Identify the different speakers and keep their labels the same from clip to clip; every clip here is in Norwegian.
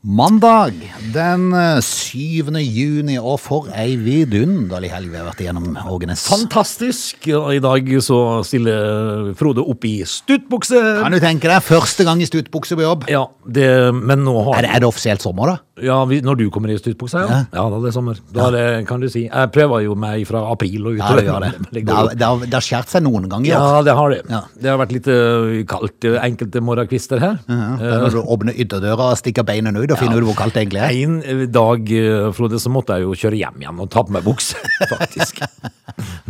Speaker 1: Mandag den eh, 7. juni, og for ei vidunderlig helg vi har vært igjennom, Sånn Ågenes.
Speaker 2: Fantastisk. Og I dag så stiller Frode opp i stuttbukse.
Speaker 1: Kan du tenke deg, første gang i stuttbukse på jobb.
Speaker 2: Ja, det, men nå
Speaker 1: Er
Speaker 2: har
Speaker 1: det, er det offisielt sommer, da?
Speaker 2: ja, vi, Når du kommer i stuttbukse, ja. ja, da er det sommer. Da er det, kan du si. Jeg prøver jo meg fra april og
Speaker 1: Ja,
Speaker 2: utover.
Speaker 1: det gjør det.
Speaker 2: men
Speaker 1: Det
Speaker 2: går
Speaker 1: har,
Speaker 2: jo.
Speaker 1: det har, det har skjært seg noen ganger i
Speaker 2: Ja,
Speaker 1: år.
Speaker 2: det har det.
Speaker 1: Ja.
Speaker 2: Det har vært litt eh, kaldt eh, enkelte morgenkvister her. Eh,
Speaker 1: Ja, det er når du åpner ytterdøra og stikker beina ut og finner ut hvor kaldt det egentlig er.
Speaker 2: En eh, dag, eh, Frode, så måtte jeg jo kjøre hjem igjen og ta på meg bukse, faktisk.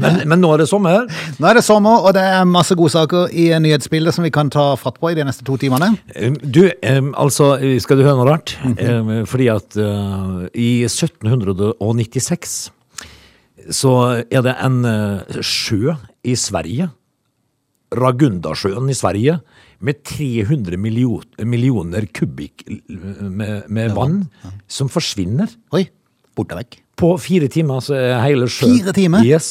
Speaker 2: Men, men nå er det sommer.
Speaker 1: Nå er det sommer, og det er masse godsaker i nyhetsbildet som vi kan ta fatt på i de neste to timene.
Speaker 2: Um, Du, um, altså, skal du høre noe rart? Um, Fordi at uh, i 1796 så er det en uh, sjø i Sverige, Ragundasjøen i Sverige, med 300 miljo- millioner kubikk l- med, med vann som forsvinner.
Speaker 1: Oi, borte vekk.
Speaker 2: På fire timer så er hele sjøen
Speaker 1: Fire timer?
Speaker 2: Yes.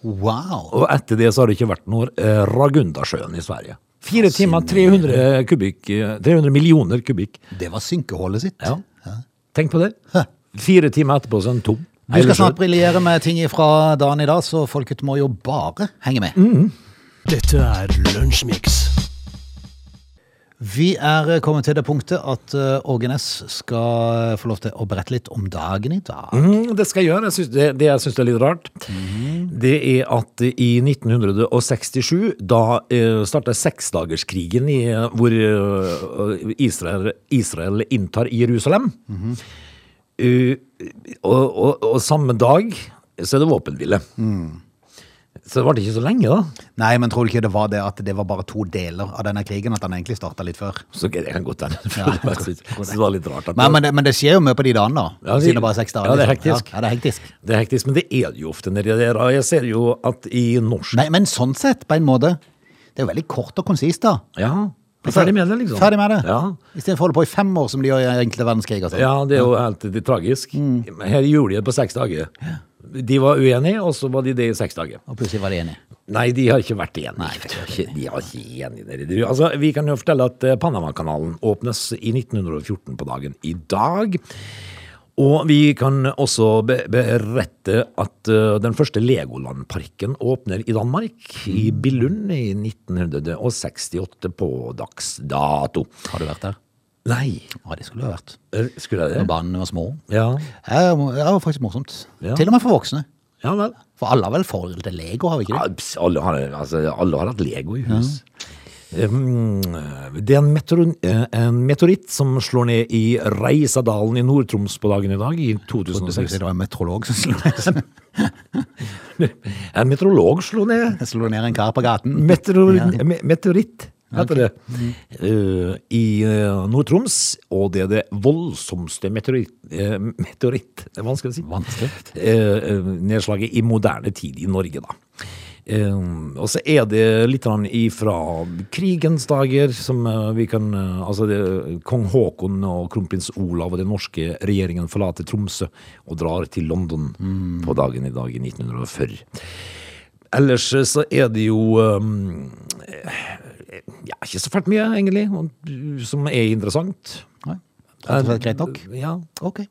Speaker 1: Wow.
Speaker 2: Og etter det så har det ikke vært noe eh, Ragundasjøen i Sverige. Fire timer, 300, kubikk, eh, 300 millioner kubikk.
Speaker 1: Det var synkehullet sitt.
Speaker 2: Ja. Tenk på det. Fire timer etterpå så er den tom.
Speaker 1: Du skal
Speaker 2: Eller
Speaker 1: snart briljere med ting fra dagen i dag, så folket må jo bare henge med.
Speaker 2: Mm.
Speaker 3: Dette er Lunsjmix.
Speaker 1: Vi er kommet til det punktet at eh, Åge Næss skal få lov til å berette litt om dagen i dag.
Speaker 2: sjø. Mm, det skal jeg gjøre. Jeg synes det, det jeg syns er litt rart,
Speaker 1: Mhm.
Speaker 2: det er at i 1967, da eh, starta seksdagerskrigen i, eh, hvor eh, Israel, Israel inntar Jerusalem.
Speaker 1: Mhm.
Speaker 2: Eh, og, og, og samme dag så er det våpenhvile.
Speaker 1: Mm.
Speaker 2: Så det varte ikke så lenge, da.
Speaker 1: Nei, men tror du ikke det var det at det var bare to deler av denne krigen, at han egentlig starta litt før?
Speaker 2: Så det kan godt hende. Så det var litt rart. at-
Speaker 1: Nei, men det, men det skjer jo mye på de dagene, da.
Speaker 2: Ja, det-
Speaker 1: Siden det bare er seks dager.
Speaker 2: ja, det er
Speaker 1: liksom.
Speaker 2: hektisk.
Speaker 1: Ja, det er hektisk.
Speaker 2: Det er hektisk, men det er det jo ofte nedi der. og Jeg ser jo at i norsk
Speaker 1: Nei, men sånn sett, på en måte. Det er jo veldig kort og konsist, da.
Speaker 2: Ja. Bli ferdig med det, liksom.
Speaker 1: Ferdig med det.
Speaker 2: Ja.
Speaker 1: Istedenfor å holde på i fem år, som de gjør i enkelte verdenskriger. sånn.
Speaker 2: ja, det er jo helt det er tragisk.
Speaker 1: Mm.
Speaker 2: Her gjorde de det på seks dager. De var uenige, og så var de det i seks dager.
Speaker 1: Og plutselig var de enige.
Speaker 2: Nei, de har ikke vært enige. Ikke- de var ikke enige nedi der. Altså, vi kan jo fortelle at eh, Panamakanalen åpnes i 1914 på dagen i dag. Og vi kan også be berette at eh, den første Legoland-parken åpner i Danmark, i Billund, i 1968 på dags dato.
Speaker 1: Har du vært der?
Speaker 2: Nei,
Speaker 1: Ja, det skulle du ha vært.
Speaker 2: eh, skulle jeg
Speaker 1: Når
Speaker 2: det?
Speaker 1: barna var små.
Speaker 2: Ja,
Speaker 1: Ja, Det var faktisk morsomt.
Speaker 2: Ja.
Speaker 1: Til og med for voksne.
Speaker 2: ja vel.
Speaker 1: For alle har vel forhold til Lego, har vi ikke
Speaker 2: Ja,
Speaker 1: det?
Speaker 2: ps, alle, har, altså, alle har hatt Lego i hus. Um, det er en, meteor, eh, en meteoritt som slår ned i Reisadalen i Nord-Troms på dagen i dag, i
Speaker 1: Du skulle si
Speaker 2: 2006.
Speaker 1: det var en meteorolog som slo-
Speaker 2: En meteorolog slo ned
Speaker 1: slo ned en kar på gaten.
Speaker 2: meteor, me- meteoritt, heter det, eh, i eh, Nord-Troms. Og det er det voldsomste meteoritt, eh, meteoritt Det er vanskelig å si.
Speaker 1: Vanskelig.
Speaker 2: eh, eh, nedslaget i moderne tid i Norge, da. Eh, og så er det litt grann ifra krigens dager som eh, vi kan eh, Altså det, kong Haakon og kronprins Olav og den norske regjeringen forlater Tromsø og drar til London på dagen i dag i 1940. Ellers eh, så er det jo eh, ja, ikke så fælt mye, egentlig, og- som er interessant. Eh,
Speaker 1: Nei. Rett og slett greit nok.
Speaker 2: Ja.
Speaker 1: Ok.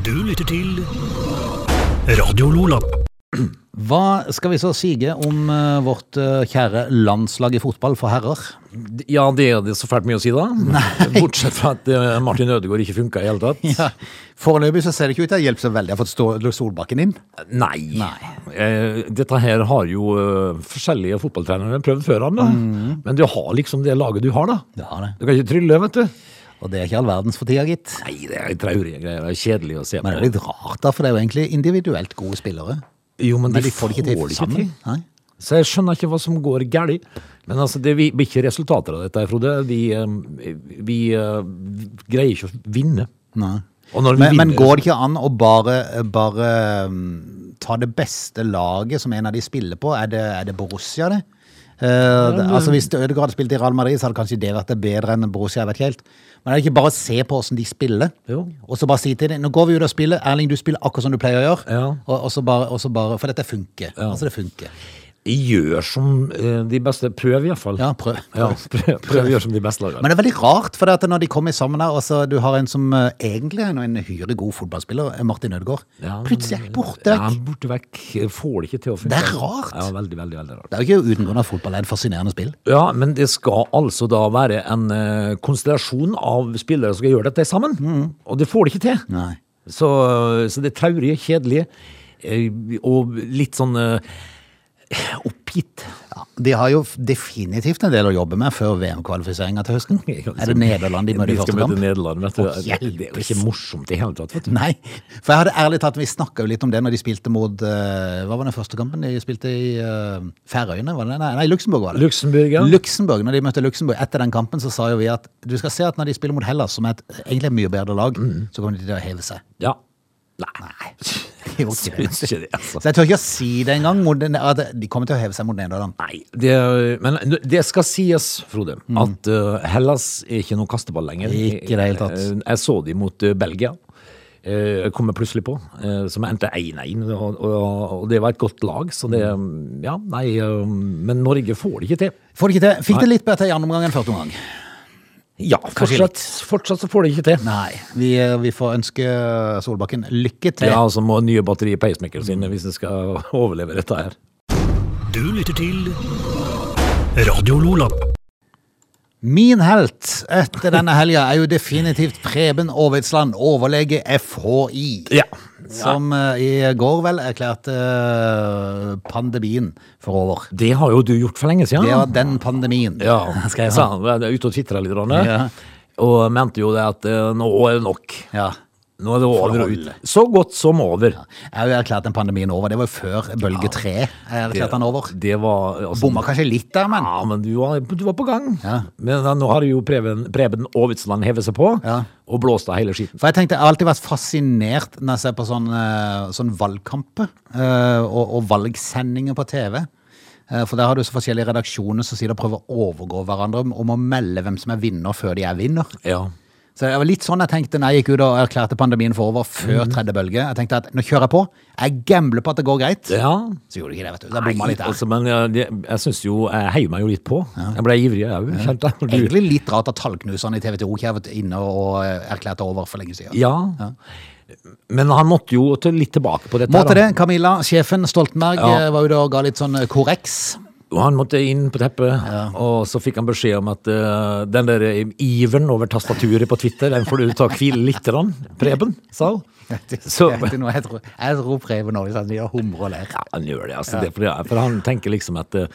Speaker 3: Du lytter til Radio Lola.
Speaker 1: Hva skal vi så sige om eh, vårt eh, kjære landslag i fotball for herrer?
Speaker 2: Ja, det er det så fælt mye å si da. Bortsett fra at eh, Martin Ødegaard ikke funka i hele tatt.
Speaker 1: Foreløpig så ser det ikke ut til å hjelpe så veldig. Jeg har fått stå- Solbakken inn.
Speaker 2: Nei. Eh, Dette her har jo eh, forskjellige fotballtrenere prøvd før han, da.
Speaker 1: Mhm.
Speaker 2: Men du har liksom det laget du har, da.
Speaker 1: Du har det.
Speaker 2: Du kan ikke trylle, vet du.
Speaker 1: Og det er ikke all verdens for tida, gitt.
Speaker 2: Nei, det er traurige greier. Det er kjedelig å se
Speaker 1: Men det
Speaker 2: på.
Speaker 1: er litt rart, da, for det er jo egentlig individuelt gode spillere.
Speaker 2: Jo, men
Speaker 1: Men de får det ikke til sammen. Nei.
Speaker 2: Så jeg skjønner ikke hva som går galt. Men altså, det vi- blir ikke resultater av dette, her, Frode. Vi, eh, vi eh, greier ikke å vinne.
Speaker 1: Nei.
Speaker 2: Og når vi
Speaker 1: Men, men
Speaker 2: vinner-
Speaker 1: går det ikke an å bare, bare um, mm, ta det beste laget som en av de spiller på? Er det, er det Borussia, det? Eh, det- altså Hvis Ødegaard spilte i Real Madrid, så hadde kanskje det vært det bedre enn Borussia. Jeg vet ikke helt. Men er det ikke bare å se på hvordan de spiller,
Speaker 2: Jo.
Speaker 1: og så bare si til dem Nå går vi ut og spiller. Erling, du spiller akkurat som du pleier å gjøre.
Speaker 2: Ja.
Speaker 1: Og, og, så bare, og så bare For dette funker. Altså, det funker.
Speaker 2: Gjør som eh, de beste. Prøv, iallfall.
Speaker 1: Ja, prøv.
Speaker 2: Ja, prøv, prøv å gjøre som de beste lagene.
Speaker 1: Men det er veldig rart, for det at når de kommer sammen her, og så du har en som eh, egentlig er nå en hyre god fotballspiller, eh, Martin Ødegaard,
Speaker 2: Ja,
Speaker 1: plutselig er borte
Speaker 2: Ja,
Speaker 1: vekk.
Speaker 2: borte vekk. Får det ikke til å funke.
Speaker 1: Det er rart.
Speaker 2: Ja, veldig, veldig, veldig rart.
Speaker 1: Det er jo ikke uten grunn at fotball er et fascinerende spill.
Speaker 2: Ja, men det skal altså da være en eh, konstellasjon av spillere som skal gjøre dette sammen. Og det får de ikke til.
Speaker 1: Mm. Nei.
Speaker 2: Så, så det er traurige, kjedelige eh, og litt sånn eh, oppgitt.
Speaker 1: Ja, de har jo f- definitivt en del å jobbe med før VM-kvalifiseringa til høsten. Er det Nederland de møter i
Speaker 2: De
Speaker 1: første
Speaker 2: skal møte
Speaker 1: kamp?
Speaker 2: Nederland, vet du.
Speaker 1: Å, hjelpes.
Speaker 2: det er jo ikke morsomt i hele tatt, vet du.
Speaker 1: Nei, for jeg hadde ærlig talt, vi snakka jo litt om det når de spilte mot eh, Hva var den første kampen de spilte i? eh, Færøyene? var det det? Nei, nei, Luxembourg var det.
Speaker 2: Luxembourg, ja.
Speaker 1: Luxembourg, når de møtte Luxembourg etter den kampen, så sa jo vi at du skal se at når de spiller mot Hellas, som er et egentlig et mye bedre lag,
Speaker 2: Mm.
Speaker 1: så kommer de til å heve seg.
Speaker 2: Ja. Nei.
Speaker 1: De gjorde ikke det.
Speaker 2: Syns ikke det, altså.
Speaker 1: Så jeg tør ikke å si det engang. mot den- at De kommer til å heve seg mot Nederland.
Speaker 2: Nei, det, men det skal sies, Frode, at eh, Hellas er ikke noe kasteball lenger.
Speaker 1: Mm. Ikke i det hele tatt.
Speaker 2: Eh, Jeg så de mot eh, Belgia. eh, Jeg kommer plutselig på, eh, som endte 1-1, og, og, og det var et godt lag, så det
Speaker 1: Mm.
Speaker 2: Ja, nei, eh, men Norge får det ikke til.
Speaker 1: Får det ikke til. Fikk det litt bedre i andre omgang enn første omgang.
Speaker 2: Ja, fortsatt, fortsatt så får det ikke til.
Speaker 1: Nei, vi, eh, vi får ønske Solbakken lykke til.
Speaker 2: Ja, altså må nye batterier i pacemakeren sin hvis en skal overleve dette her.
Speaker 3: Du lytter til Radio Lola.
Speaker 1: Min helt etter denne helga er jo definitivt Preben Aavitsland, overlege FHI.
Speaker 2: Ja.
Speaker 1: Som eh, i går vel erklærte eh, pandemien for over.
Speaker 2: Det har jo du gjort for lenge siden.
Speaker 1: Det var den pandemien.
Speaker 2: Ah. Ja,
Speaker 1: skrev
Speaker 2: sa
Speaker 1: han.
Speaker 2: han. Jeg er ute og tvitra litt, Ronne.
Speaker 1: Ja.
Speaker 2: Og mente jo det at eh, nå er det nok.
Speaker 1: Ja.
Speaker 2: Nå er det over og ut.
Speaker 1: Forhold.
Speaker 2: Så godt som over.
Speaker 1: Jeg har jo erklært den pandemien over. Det var jo før bølge tre. Jeg erklærte den over.
Speaker 2: Det var altså,
Speaker 1: Bomma kanskje litt der, men.
Speaker 2: Ja, men du var, du var på gang.
Speaker 1: Ja.
Speaker 2: Men da, nå har jo Preben, Preben Aavitsland hevet seg på
Speaker 1: Ja.
Speaker 2: og blåst av hele skiten.
Speaker 1: For jeg tenkte, jeg har alltid vært fascinert når jeg ser på sånn, eh, sånn valgkamp eh, og, og valgsendinger på TV. Eh, For der har du så forskjellige redaksjoner som sier de prøver å overgå hverandre om- om å melde hvem som er vinner før de er vinner.
Speaker 2: Ja.
Speaker 1: Så det var litt sånn jeg tenkte når jeg gikk ut og erklærte pandemien for over før
Speaker 2: Mhm.
Speaker 1: tredje bølge. Jeg tenkte at nå kjører jeg på, jeg gambler på at det går greit.
Speaker 2: ja.
Speaker 1: Så gjorde de ikke det, vet du. Så jeg bomma litt der.
Speaker 2: altså, men jeg, jeg, jeg syns jo Jeg heier meg jo litt på. Jeg ble ivrig, jeg òg. Kjente jeg. Du-
Speaker 1: Egentlig litt rart at tallknuserne i TV 2 ikke har vært inne og eh, erklært det over for lenge siden.
Speaker 2: Ja. Men han måtte jo til- litt tilbake på dette.
Speaker 1: Måtte
Speaker 2: her, da.
Speaker 1: det. Camilla, sjefen Stoltenberg,
Speaker 2: Ja.
Speaker 1: eh, var ute og ga litt sånn eh, korreks.
Speaker 2: Og han måtte inn på teppet, og så fikk han beskjed om at eh, den der iveren over tastaturet på Twitter, den får du ta og hvile litt, grann, Preben, sa hun.
Speaker 1: Det-
Speaker 2: Så-
Speaker 1: det er ikke noe jeg tror, jeg tror Preben Aavitsand gjør humre og ler.
Speaker 2: Ja, han gjør det, altså. Det, er fordi- for han tenker liksom at eh,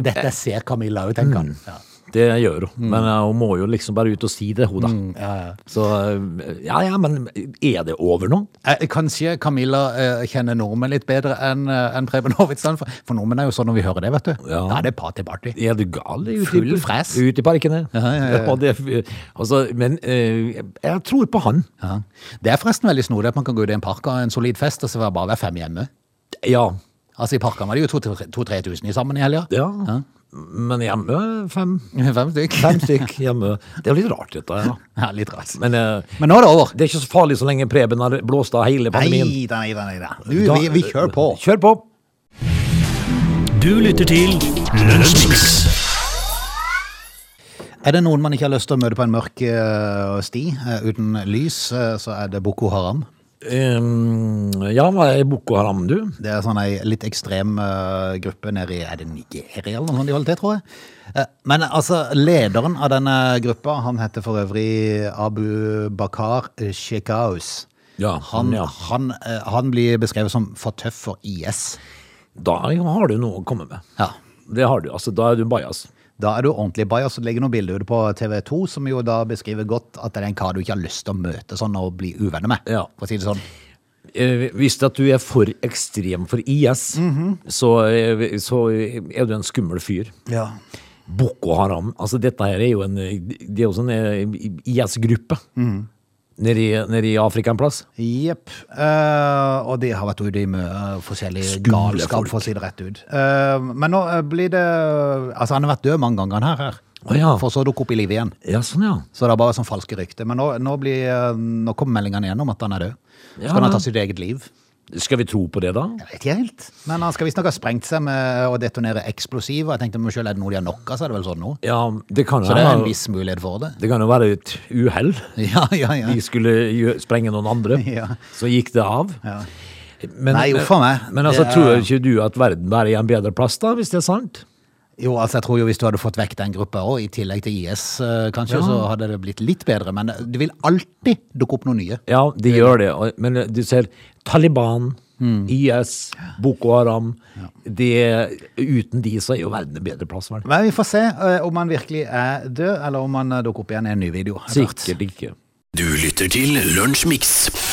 Speaker 1: Dette ser Camilla òg, tenker
Speaker 2: Mm.
Speaker 1: han. Ja.
Speaker 2: det gjør hun, men eh, hun må jo liksom bare ut og si det, hun da. Så eh, ja ja, men er det over nå?
Speaker 1: Eh, Kanskje Camilla eh, kjenner nordmenn litt bedre enn eh, enn Preben Aavitsand. For, for nordmenn er jo sånn når vi hører det, vet du.
Speaker 2: Ja.
Speaker 1: Da er det party-party.
Speaker 2: Er du gal? Ute i-
Speaker 1: Full fres.
Speaker 2: Ute i parkene.
Speaker 1: Ja, ja, ja.
Speaker 2: Og det, altså, men eh, jeg tror på han.
Speaker 1: Ja. Det er forresten veldig snodig at man kan gå ut i en park og ha en solid fest, og så være- bare være fem hjemme.
Speaker 2: Ja.
Speaker 1: Altså I parkene var det jo 2000-3000 sammen i helga.
Speaker 2: ja. Men hjemme fem.
Speaker 1: Fem stykk.
Speaker 2: Fem stykk hjemme. Det er jo litt rart, dette her. da.
Speaker 1: Ja, litt rart.
Speaker 2: Men eh,
Speaker 1: Men nå er det over.
Speaker 2: det er ikke så farlig så lenge Preben har blåst av
Speaker 1: Nei
Speaker 2: hele pandemien.
Speaker 1: da, nei da. nei da. Du,
Speaker 2: Da-
Speaker 1: vi, vi kjører på.
Speaker 2: Kjør på!
Speaker 3: Du lytter til Lunsjmix.
Speaker 1: Er det noen man ikke har lyst til å møte på en mørk eh, sti eh, uten lys, eh, så er det Boko Haram.
Speaker 2: Ehm, ja, hva er Boko Haram, du?
Speaker 1: Det er sånn ei litt ekstrem eh, gruppe nede i Er det Nigeria eller noe sånt de holder til, tror jeg. Eh, men altså, lederen av denne gruppa, han heter for øvrig Abu Bakar Shekaus.
Speaker 2: Ja,
Speaker 1: Han,
Speaker 2: ja.
Speaker 1: han, eh, han blir beskrevet som for tøff for IS.
Speaker 2: Da har du noe å komme med.
Speaker 1: Ja.
Speaker 2: Det har du. altså Da er du bajas.
Speaker 1: Da er du ordentlig bajas. Det ligger noen bilder ute på TV 2 som jo da beskriver godt at det er en kar du ikke har lyst til å møte sånn og bli uvenner med,
Speaker 2: Ja.
Speaker 1: for å si det sånn.
Speaker 2: Eh, hvis at du er for ekstrem for IS,
Speaker 1: Mhm.
Speaker 2: så, eh, så er du en skummel fyr.
Speaker 1: Ja. Mhm.
Speaker 2: Boko Haram, altså dette her er jo en eh, Det er jo sånn eh, IS-gruppe. Nede i, nede i Afrika en plass?
Speaker 1: Jepp. Eh, og de har vært ute i mye eh, forskjellig
Speaker 2: Skumle
Speaker 1: galskap, for å si det rett ut. Eh, men nå eh, blir det Altså, han har vært død mange ganger, han her. her.
Speaker 2: Å ja.
Speaker 1: For så å dukke opp i livet igjen.
Speaker 2: Ja, sånn ja.
Speaker 1: Så det er bare sånn falske rykter. Men nå, nå, blir, eh, nå kommer meldingene igjen om at han er død.
Speaker 2: Ja.
Speaker 1: Skal han ha tatt sitt eget liv?
Speaker 2: Skal vi tro på det, da?
Speaker 1: Jeg vet ikke helt. Men han skal visstnok ha sprengt seg med å detonere eksplosiv. Og jeg tenkte meg selv, er det noe de har nok av, så er det vel sånn nå.
Speaker 2: Ja, det kan, jo
Speaker 1: Så det er
Speaker 2: være-
Speaker 1: en viss mulighet for det.
Speaker 2: det kan jo være et uhell.
Speaker 1: Ja, ja, ja.
Speaker 2: De skulle gjø- sprenge noen andre,
Speaker 1: Ja.
Speaker 2: så gikk det av.
Speaker 1: Ja.
Speaker 2: Men,
Speaker 1: Nei, uff a meg.
Speaker 2: Men altså,
Speaker 1: Det er-
Speaker 2: tror ikke du at verden er i en bedre plass, da, hvis det er sant?
Speaker 1: Jo, altså jeg tror jo hvis du hadde fått vekk den gruppa òg, i tillegg til IS eh, kanskje,
Speaker 2: Ja.
Speaker 1: så hadde det blitt litt bedre. Men eh, det vil alltid dukke opp noen nye.
Speaker 2: Ja, de gjør det. og- Men eh, du ser Taliban,
Speaker 1: Mm.
Speaker 2: IS, Boko Haram det, Uten de så er jo verden en bedre plass, vel?
Speaker 1: Men vi får se eh, om han virkelig er død, eller om han eh, dukker opp igjen i en ny video. etter hvert.
Speaker 2: Sikkert ikke.
Speaker 3: Du lytter til Lunsjmix.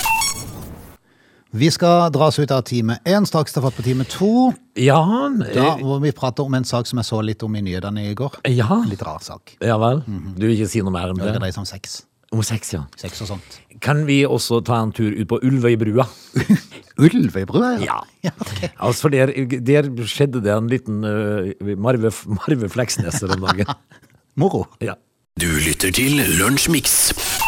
Speaker 1: Vi skal dras ut av time én, straks ta fatt på time to.
Speaker 2: Ja,
Speaker 1: Da,
Speaker 2: eh,
Speaker 1: hvor vi prater om en sak som jeg så litt om i nyhetene i går.
Speaker 2: ja.
Speaker 1: Litt rar sak.
Speaker 2: ja vel. Du vil ikke si noe mer om
Speaker 1: Mhm. Det
Speaker 2: det?
Speaker 1: dreier seg om sex.
Speaker 2: Om sex, ja.
Speaker 1: Sex og sånt.
Speaker 2: Kan vi også ta en tur ut på Ulvøybrua?
Speaker 1: Ulvebrua,
Speaker 2: Ja.
Speaker 1: ja ok.
Speaker 2: Altså, for der, der skjedde det en liten eh, Marve, Marve Fleksnes her om dagen.
Speaker 1: Moro.
Speaker 2: Ja.
Speaker 3: Du lytter til Lunsjmix.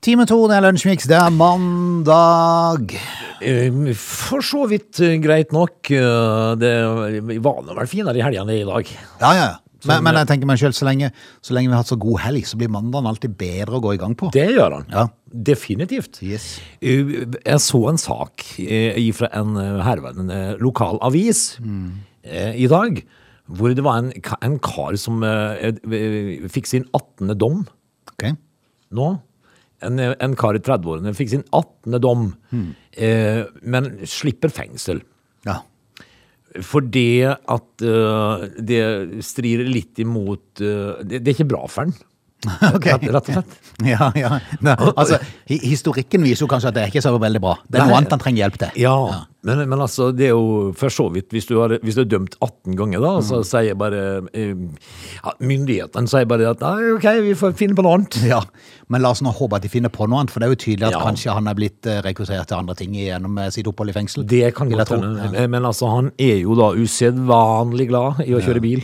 Speaker 1: Time to, det er Lunsjmix. Det er mandag.
Speaker 2: Eh, For så vidt eh, greit nok. Eh, Det var nå vel finere i helgene i dag.
Speaker 1: Ja, ja. Men, men jeg tenker meg selv, så lenge, så lenge vi har hatt så god helg, så blir mandagen alltid bedre å gå i gang på.
Speaker 2: Det gjør han.
Speaker 1: Ja.
Speaker 2: Definitivt.
Speaker 1: Yes.
Speaker 2: Eh, Jeg så en sak eh, fra en eh, herværende lokal avis
Speaker 1: Mm.
Speaker 2: eh, i dag, hvor det var en, ka- en kar som eh, eh, fikk sin 18. dom
Speaker 1: Ok.
Speaker 2: nå. En, eh, en kar i 30-årene fikk sin 18. dom, eh, men slipper fengsel.
Speaker 1: Ja.
Speaker 2: Fordi at øh, det strir litt imot øh, det, det er ikke bra for den,
Speaker 1: Ok.
Speaker 2: rett, rett og slett.
Speaker 1: Ja, ja. Nei, altså, hi- historikken viser jo kanskje at det er ikke så veldig bra. Det er
Speaker 2: Nei.
Speaker 1: noe annet han trenger hjelp til.
Speaker 2: Ja, Men, men altså, det er jo for så vidt Hvis du, har, hvis du er dømt 18 ganger, da, så sier bare øh, ja, Myndighetene sier bare at nei, OK, vi får finne på noe annet.
Speaker 1: Ja. Men la oss nå håpe at de finner på noe annet, for det er jo tydelig at
Speaker 2: Ja.
Speaker 1: kanskje han er blitt eh, rekruttert til andre ting gjennom eh, sitt opphold i fengsel.
Speaker 2: Det kan
Speaker 1: Vil jeg
Speaker 2: godt
Speaker 1: tro.
Speaker 2: hende. Men- Men altså, han er jo da usedvanlig glad i å kjøre bil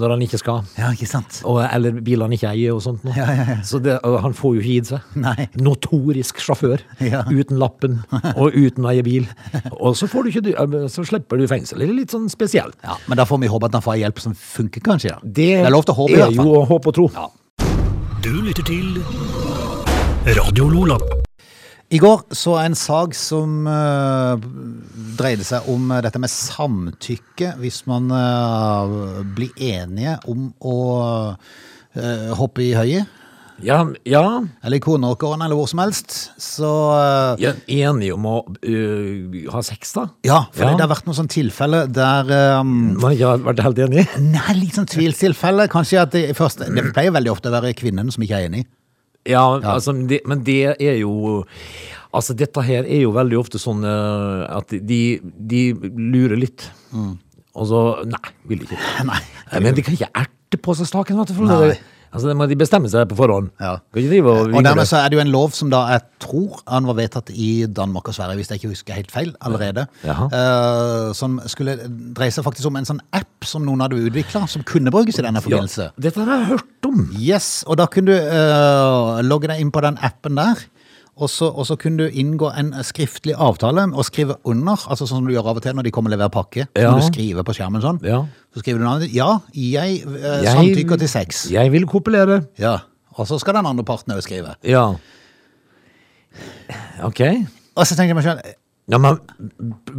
Speaker 2: når han ikke skal.
Speaker 1: Ja, ikke sant?
Speaker 2: Og, eller biler han ikke eier og sånt noe. Så det, og han får jo ikke gitt seg.
Speaker 1: Nei.
Speaker 2: Notorisk sjåfør.
Speaker 1: Ja.
Speaker 2: Uten lappen og uten å eie bil. Og så, får du ikke, du- så slipper du fengsel. Det er litt sånn spesielt.
Speaker 1: Ja, men da får vi håpe at han får hjelp som funker, kanskje. Da.
Speaker 2: Det
Speaker 1: er lov til å håpe, i
Speaker 2: er
Speaker 1: hvert
Speaker 2: jo
Speaker 1: fall.
Speaker 2: å håpe og tro.
Speaker 3: Du lytter til Radio Lola.
Speaker 1: I går så jeg en sag som eh, dreide seg om eh, dette med samtykke hvis man eh, blir enige om å eh, hoppe i høyet,
Speaker 2: Ja, ja,
Speaker 1: eller i kornåkeren, eller hvor som helst. Så eh,
Speaker 2: ja enige om å øh, ha sex, da?
Speaker 1: ja, for
Speaker 2: Ja.
Speaker 1: det har vært noen sånne tilfeller der eh,
Speaker 2: Man ikke har vært helt enig?
Speaker 1: Nei, litt sånn tvilstilfelle. Kanskje at det først Det pleier veldig ofte å være kvinnen som ikke er enig.
Speaker 2: Ja, Altså, det, men det er jo Altså, dette her er jo veldig ofte sånn eh, at de, de lurer litt. Og så Nei, vil ikke.
Speaker 1: Nei.
Speaker 2: Mm. Nei, men de kan ikke erte på seg staken, vet du. For
Speaker 1: Nei.
Speaker 2: det, altså, det må de bestemme seg på forhånd.
Speaker 1: Ja.
Speaker 2: Kan ikke drive og
Speaker 1: Og dermed
Speaker 2: vingle.
Speaker 1: så er det jo en lov som da jeg tror han var vedtatt i Danmark og Sverige, hvis jeg ikke husker helt feil allerede,
Speaker 2: Jaha.
Speaker 1: eh, som skulle dreie seg faktisk om en sånn app som noen hadde utvikla, som kunne brukes i denne
Speaker 2: Ja,
Speaker 1: forbindelse.
Speaker 2: dette har jeg hørt om.
Speaker 1: Yes, og da kunne du eh, logge deg inn på den appen der, og så, og så kunne du inngå en skriftlig avtale og skrive under, altså sånn som du gjør av og til når de kommer og leverer pakke,
Speaker 2: Ja.
Speaker 1: når du skriver på skjermen sånn,
Speaker 2: Ja.
Speaker 1: så skriver du navnet ditt. Ja, jeg, eh,
Speaker 2: Jeg-
Speaker 1: samtykker til sex.
Speaker 2: Jeg vil kopulere.
Speaker 1: Ja, og så skal den andre parten også skrive.
Speaker 2: Ja. OK.
Speaker 1: Og så tenker jeg meg selv,
Speaker 2: Ja, men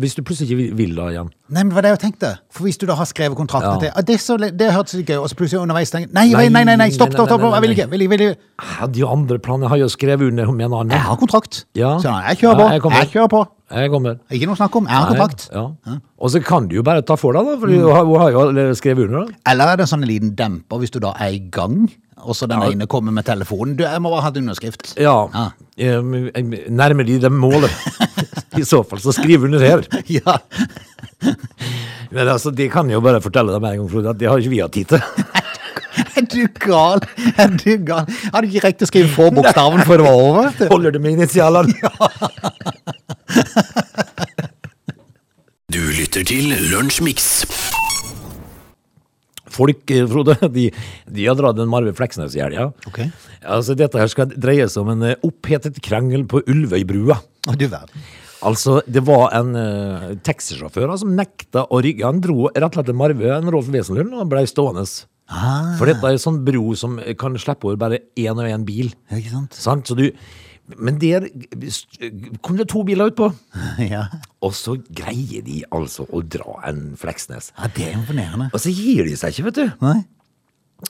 Speaker 2: hvis du plutselig ikke vil- vil da igjen
Speaker 1: Nei, men det var det jeg tenkte. For hvis du da har skrevet kontrakten
Speaker 2: Ja.
Speaker 1: til ah, det, er så, le- det hørtes litt gøy ut, og så plutselig underveis tenker jeg, nei, nei,
Speaker 2: Nei,
Speaker 1: nei, nei, nei, stopp,
Speaker 2: nei,
Speaker 1: stopp, stopp,
Speaker 2: nei, nei,
Speaker 1: jeg vil
Speaker 2: nei.
Speaker 1: ikke. Vil, ikke, vil, ikke.
Speaker 2: Ja, De andre planene har jo skrevet under med en annen.
Speaker 1: Jeg har kontrakt.
Speaker 2: Ja.
Speaker 1: Så nei, jeg kjører på.
Speaker 2: Ja, jeg
Speaker 1: jeg,
Speaker 2: kommer.
Speaker 1: kjører på.
Speaker 2: Jeg kommer.
Speaker 1: Ikke noe å snakke om. Jeg har
Speaker 2: Nei,
Speaker 1: kontrakt.
Speaker 2: Ja. Og så kan du jo bare ta for deg, da, for du har, hun har jo allerede skrevet under. da.
Speaker 1: Eller er det en sånn liten demper hvis du da er i gang, og så den
Speaker 2: Ja.
Speaker 1: ene kommer med telefonen. Du, jeg må bare ha et underskrift.
Speaker 2: Ja.
Speaker 1: Ja.
Speaker 2: Em, em, Nærmer de det målet? I så fall, så skriv under her.
Speaker 1: Ja.
Speaker 2: Men altså, de kan jo bare fortelle deg med en gang, Frode, at det har ikke vi hatt tid til.
Speaker 1: Er du gal? Er du gal? Hadde du ikke rekt å skrive få bokstaven før det var over? vet du?
Speaker 2: Holder det med initialene?
Speaker 3: Du lytter til Lunsjmix.
Speaker 2: Folk, eh, Frode, de, de har dratt en Marve Fleksnes i helga.
Speaker 1: Ok.
Speaker 2: Altså, dette her skal dreie seg om en eh, opphetet krangel på Ulvøybrua.
Speaker 1: Å, du verden.
Speaker 2: Altså, det var en uh, taxisjåfør som nekta å rygge. Han dro rett og slett til Marve, en Rolf Wesenlund, og ble stående.
Speaker 1: Ah,
Speaker 2: For dette er en sånn bro som kan slippe over bare én og én bil.
Speaker 1: ikke sant?
Speaker 2: Sant? Så du, men der kom det to biler utpå.
Speaker 1: Ja.
Speaker 2: Og så greier de altså å dra en Fleksnes.
Speaker 1: ja, det er imponerende.
Speaker 2: Og så gir de seg ikke, vet du.
Speaker 1: Nei?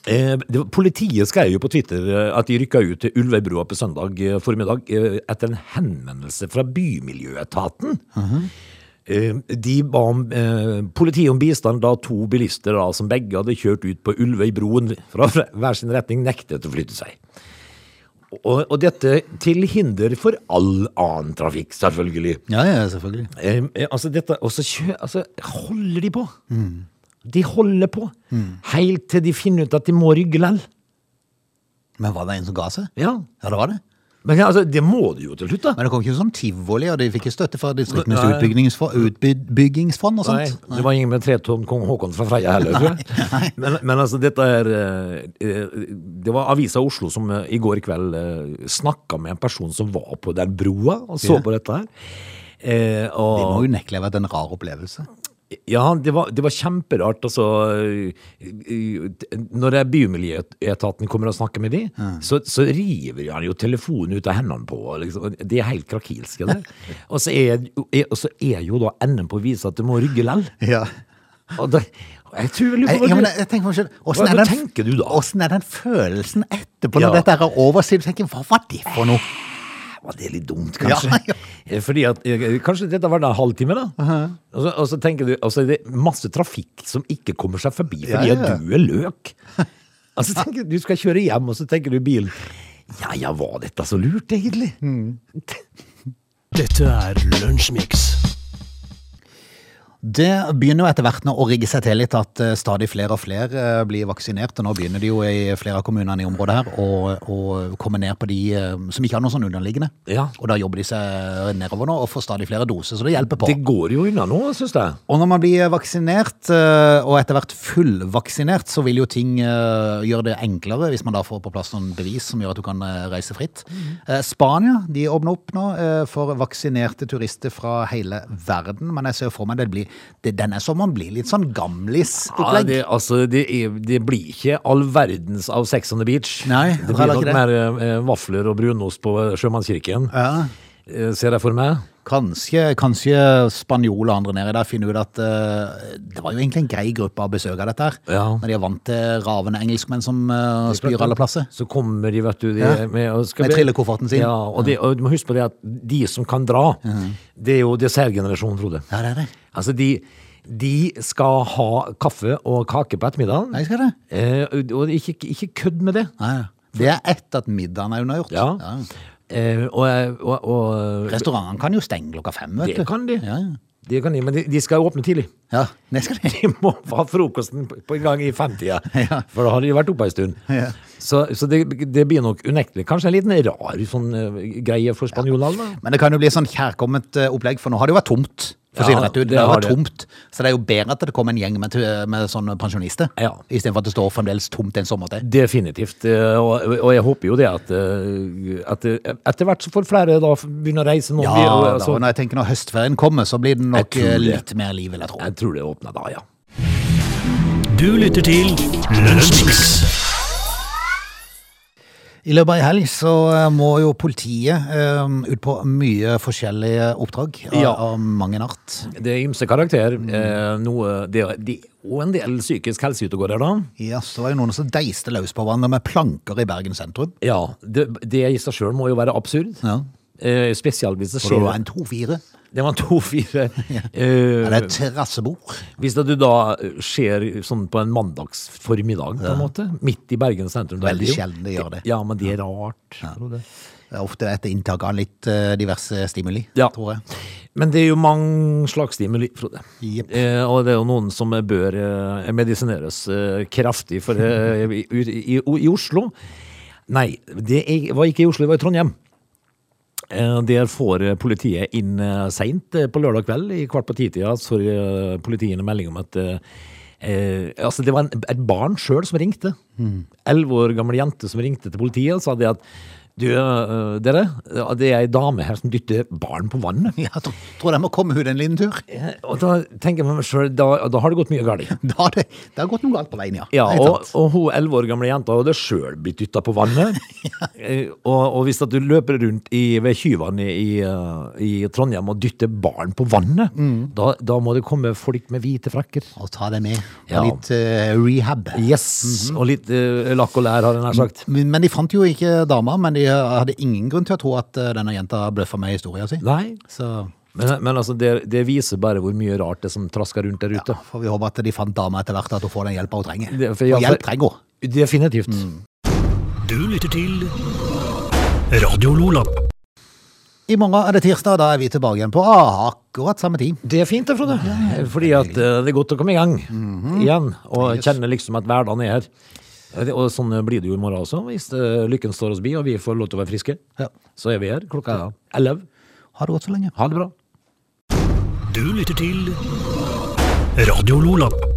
Speaker 2: Eh, det var- politiet skrev jo på Twitter eh, at de rykka ut til Ulvebrua på søndag eh, formiddag eh, etter en henvendelse fra Bymiljøetaten. Eh, De ba om, eh, politiet om bistand da to bilister da, som begge hadde kjørt ut på Ulvøybroen fra fra hver sin retning, nektet å flytte seg. Og, og dette til hinder for all annen trafikk, selvfølgelig.
Speaker 1: Ja, ja, selvfølgelig.
Speaker 2: Eh, eh, altså dette, og så kjø, altså, holder de på. De holder på. Helt til de finner ut at de må rygge lell.
Speaker 1: Men var det en som ga seg?
Speaker 2: Ja.
Speaker 1: Ja, det var det.
Speaker 2: Men ja, altså, det må du jo til slutt, da.
Speaker 1: Men det kom ikke sånn tivoli, og de fikk ikke støtte fra distriktenes
Speaker 2: Nei.
Speaker 1: utbyggingsfond, utbyggingsfond og
Speaker 2: Nei,
Speaker 1: sånt?
Speaker 2: det var ingen med tre tonn kong Haakon fra Freia heller. tror jeg. Men, men altså, dette er eh, eh, Det var Avisa Oslo som eh, i går kveld eh, snakka med en person som var på den broa og så
Speaker 1: Ja.
Speaker 2: på dette her. Eh, og,
Speaker 1: Det må unektelig ha vært en rar opplevelse.
Speaker 2: Ja, det var, det var kjemperart. Altså, øh, øh, når det er Bymiljøetaten kommer og snakker med de, så, så river han jo telefonen ut av hendene på. og Liksom. og Det er helt krakilsk. Det. Og, så er, er, og så er jo da enden på å vise at du må rygge lell.
Speaker 1: Ja.
Speaker 2: Og det- og Jeg tror vel
Speaker 1: Jeg,
Speaker 2: på
Speaker 1: ja, men
Speaker 2: det.
Speaker 1: jeg, jeg tenker meg selv,
Speaker 2: Hva-
Speaker 1: hvordan er,
Speaker 2: hva
Speaker 1: den,
Speaker 2: tenker du da?
Speaker 1: Hvordan er den følelsen etterpå, når
Speaker 2: Ja.
Speaker 1: dette her er over? Så du tenker, hva var det for noe?
Speaker 2: Var det litt dumt,
Speaker 1: Ja,
Speaker 2: kanskje? Fordi at, eh, kanskje dette var da en halvtime, da. og, så, og så tenker du, altså det er masse trafikk som ikke kommer seg forbi fordi
Speaker 1: Ja, ja, ja.
Speaker 2: at du er løk. Altså tenker du, du skal kjøre hjem, og så tenker du i bilen, ja, ja, var dette så lurt egentlig?
Speaker 3: Dette er Lunsjmix.
Speaker 1: Det begynner jo etter hvert nå å rigge seg til litt at eh, stadig flere og flere eh, blir vaksinert. Og nå begynner de jo i flere av kommunene i området her å å komme ned på de eh, som ikke har noe sånn underliggende.
Speaker 2: Ja.
Speaker 1: Og da jobber de seg nedover nå og får stadig flere doser, så det hjelper på.
Speaker 2: Det går jo unna nå, synes jeg.
Speaker 1: Og når man blir vaksinert, eh, og etter hvert fullvaksinert, så vil jo ting eh, gjøre det enklere, hvis man da får på plass noen bevis som gjør at du kan eh, reise fritt. Eh, Spania de åpner opp nå eh, for vaksinerte turister fra hele verden, men jeg ser for meg det blir, det, den er som man blir litt sånn
Speaker 2: Ja,
Speaker 1: gamlis-opplegg.
Speaker 2: det, altså, det, er, det blir ikke all verdens av Sex on the Beach.
Speaker 1: Nei,
Speaker 2: det blir
Speaker 1: heller
Speaker 2: nok
Speaker 1: ikke det.
Speaker 2: mer eh, vafler og brunost på eh, sjømannskirken.
Speaker 1: Ja.
Speaker 2: Eh, ser jeg for meg.
Speaker 1: Kanskje, kanskje spanjoler og andre nede der finner ut at eh, det var jo egentlig en grei gruppe av besøk av dette her.
Speaker 2: Ja.
Speaker 1: Når de er vant til ravende engelskmenn som eh, spyr alle plasser.
Speaker 2: Så kommer de, vet du, de,
Speaker 1: Ja.
Speaker 2: med, og skal
Speaker 1: Med
Speaker 2: vi-
Speaker 1: trillekofferten sin.
Speaker 2: Ja, og, det- og du må huske på det at de som kan dra, det er jo dessertgenerasjonen, Frode.
Speaker 1: Ja, det er det.
Speaker 2: Altså, de, de skal ha kaffe og kake på ettermiddagen.
Speaker 1: Nei, skal det.
Speaker 2: Eh, og- og ikke, ikke kødd med det.
Speaker 1: Nei, ja. det er etter at middagen er unnagjort.
Speaker 2: Ja. Eh, og, og, og
Speaker 1: Restaurantene kan jo stenge klokka fem, vet
Speaker 2: Det
Speaker 1: du.
Speaker 2: kan de.
Speaker 1: Ja, ja.
Speaker 2: Det kan de, men de, de skal åpne tidlig.
Speaker 1: Ja, det skal de.
Speaker 2: De må ha frokosten på- på en gang i femtida,
Speaker 1: Ja.
Speaker 2: for da har de vært oppe ei stund.
Speaker 1: Ja.
Speaker 2: Så, så det, det blir nok unektelig kanskje en liten rar sånn, eh, greie for spanjolene. da.
Speaker 1: Men det kan jo bli sånn kjærkomment eh, opplegg, for nå har det jo vært tomt. For å si
Speaker 2: Ja,
Speaker 1: det rett ut,
Speaker 2: det
Speaker 1: det har
Speaker 2: har
Speaker 1: vært
Speaker 2: det.
Speaker 1: tomt. Så det er jo bedre at det kommer en gjeng med, med sånne pensjonister,
Speaker 2: Ja.
Speaker 1: istedenfor at det står fremdeles tomt en sommer til.
Speaker 2: Definitivt. eh, Og, og jeg håper jo det at, eh, at eh, etter hvert så får flere da begynne å reise. Noen
Speaker 1: Ja,
Speaker 2: blir- og, altså-
Speaker 1: da, og når jeg tenker når høstferien kommer, så blir det nok
Speaker 2: Jeg tror
Speaker 1: eh,
Speaker 2: det.
Speaker 1: litt mer liv, vil jeg tro.
Speaker 2: jeg tror det åpner da, ja.
Speaker 3: Du lytter til Lunsjmix.
Speaker 1: I løpet av ei helg så eh, må jo politiet eh, ut på mye forskjellige oppdrag av,
Speaker 2: Ja.
Speaker 1: av mang en art.
Speaker 2: Det er ymse karakter.
Speaker 1: Mm.
Speaker 2: eh, Noe, det, er- det, og en del psykisk helse ute og går her, da.
Speaker 1: Ja, så var det noen som deiste løs på hverandre med planker i Bergen sentrum.
Speaker 2: Ja, det, det i seg sjøl må jo være absurd.
Speaker 1: Ja.
Speaker 2: Eh, Spesielt hvis det Eh,
Speaker 1: For det var
Speaker 2: skjer
Speaker 1: en 2-4.
Speaker 2: Det var to-fire.
Speaker 1: Ja, det er et terrassebord.
Speaker 2: Hvis det du da skjer sånn på en mandags formiddag, på en måte, midt i Bergen sentrum da er
Speaker 1: Veldig
Speaker 2: jo-
Speaker 1: sjelden det gjør det.
Speaker 2: Ja, men det er rart. Frode.
Speaker 1: Det er Ofte etter inntak av litt eh, diverse stimuli,
Speaker 2: Ja.
Speaker 1: tror jeg.
Speaker 2: Men det er jo mange slags stimuli, Frode.
Speaker 1: Jepp.
Speaker 2: Eh, og det er jo noen som bør eh, medisineres eh, kraftig for, eh, i, i, i Oslo. Nei, det er- var ikke i Oslo, det var i Trondheim. Eh, Der får eh, politiet inn eh, seint eh, på lørdag kveld, i kvart på ti-tida, så får eh, politiet inn en melding om at eh, eh, Altså, det var en, et barn sjøl som ringte. Elleve år gamle jente som ringte til politiet og sa det at du, eh, dere, det er ei dame her som dytter barn på vannet.
Speaker 1: Jeg tror, tror jeg må komme ut en liten tur.
Speaker 2: Eh, Og da tenker jeg med meg sjøl, da, da har det gått mye galt.
Speaker 1: Da har det, det har gått noe galt på veien, ja.
Speaker 2: Ja,
Speaker 1: Helt
Speaker 2: og,
Speaker 1: sant.
Speaker 2: og hun elleve år gamle jenta hadde sjøl blitt dytta på vannet. Eh, og, og hvis at du løper rundt i, ved Kyvannet i, eh, i Trondheim og dytter barn på vannet, da, da må det komme folk med hvite frakker.
Speaker 1: Og ta det med. Og
Speaker 2: Ja.
Speaker 1: litt eh, rehab.
Speaker 2: Yes! Og litt eh, lakk og lær, har jeg nær sagt.
Speaker 1: Men, men de fant jo ikke dama, men de eh, hadde ingen grunn til å tro at eh, denne jenta bløffa med historien sin.
Speaker 2: Nei,
Speaker 1: Så
Speaker 2: men, men altså, det, det viser bare hvor mye rart det er som trasker rundt der ute.
Speaker 1: får vi håpe at de fant dama etter hvert, at hun får den hjelpa hun trenger.
Speaker 2: Det- for-
Speaker 1: og
Speaker 2: ja, for-
Speaker 1: hjelp trenger hun.
Speaker 2: Definitivt.
Speaker 3: Du lytter til Radio Lola.
Speaker 1: I morgen er det tirsdag, da er vi tilbake igjen på akkurat samme tid.
Speaker 2: Det er fint, det, Frode. Fordi at eh, det er godt å komme i gang igjen. Og kjenne liksom at hverdagen er her. Eh, det- Og sånn blir det jo i morgen også, hvis eh, lykken står oss bi og vi får lov til å være friske.
Speaker 1: Ja.
Speaker 2: Så er vi her klokka elleve.
Speaker 1: Ha det godt så lenge.
Speaker 2: Ha det bra.
Speaker 3: Du lytter til Radio Lola.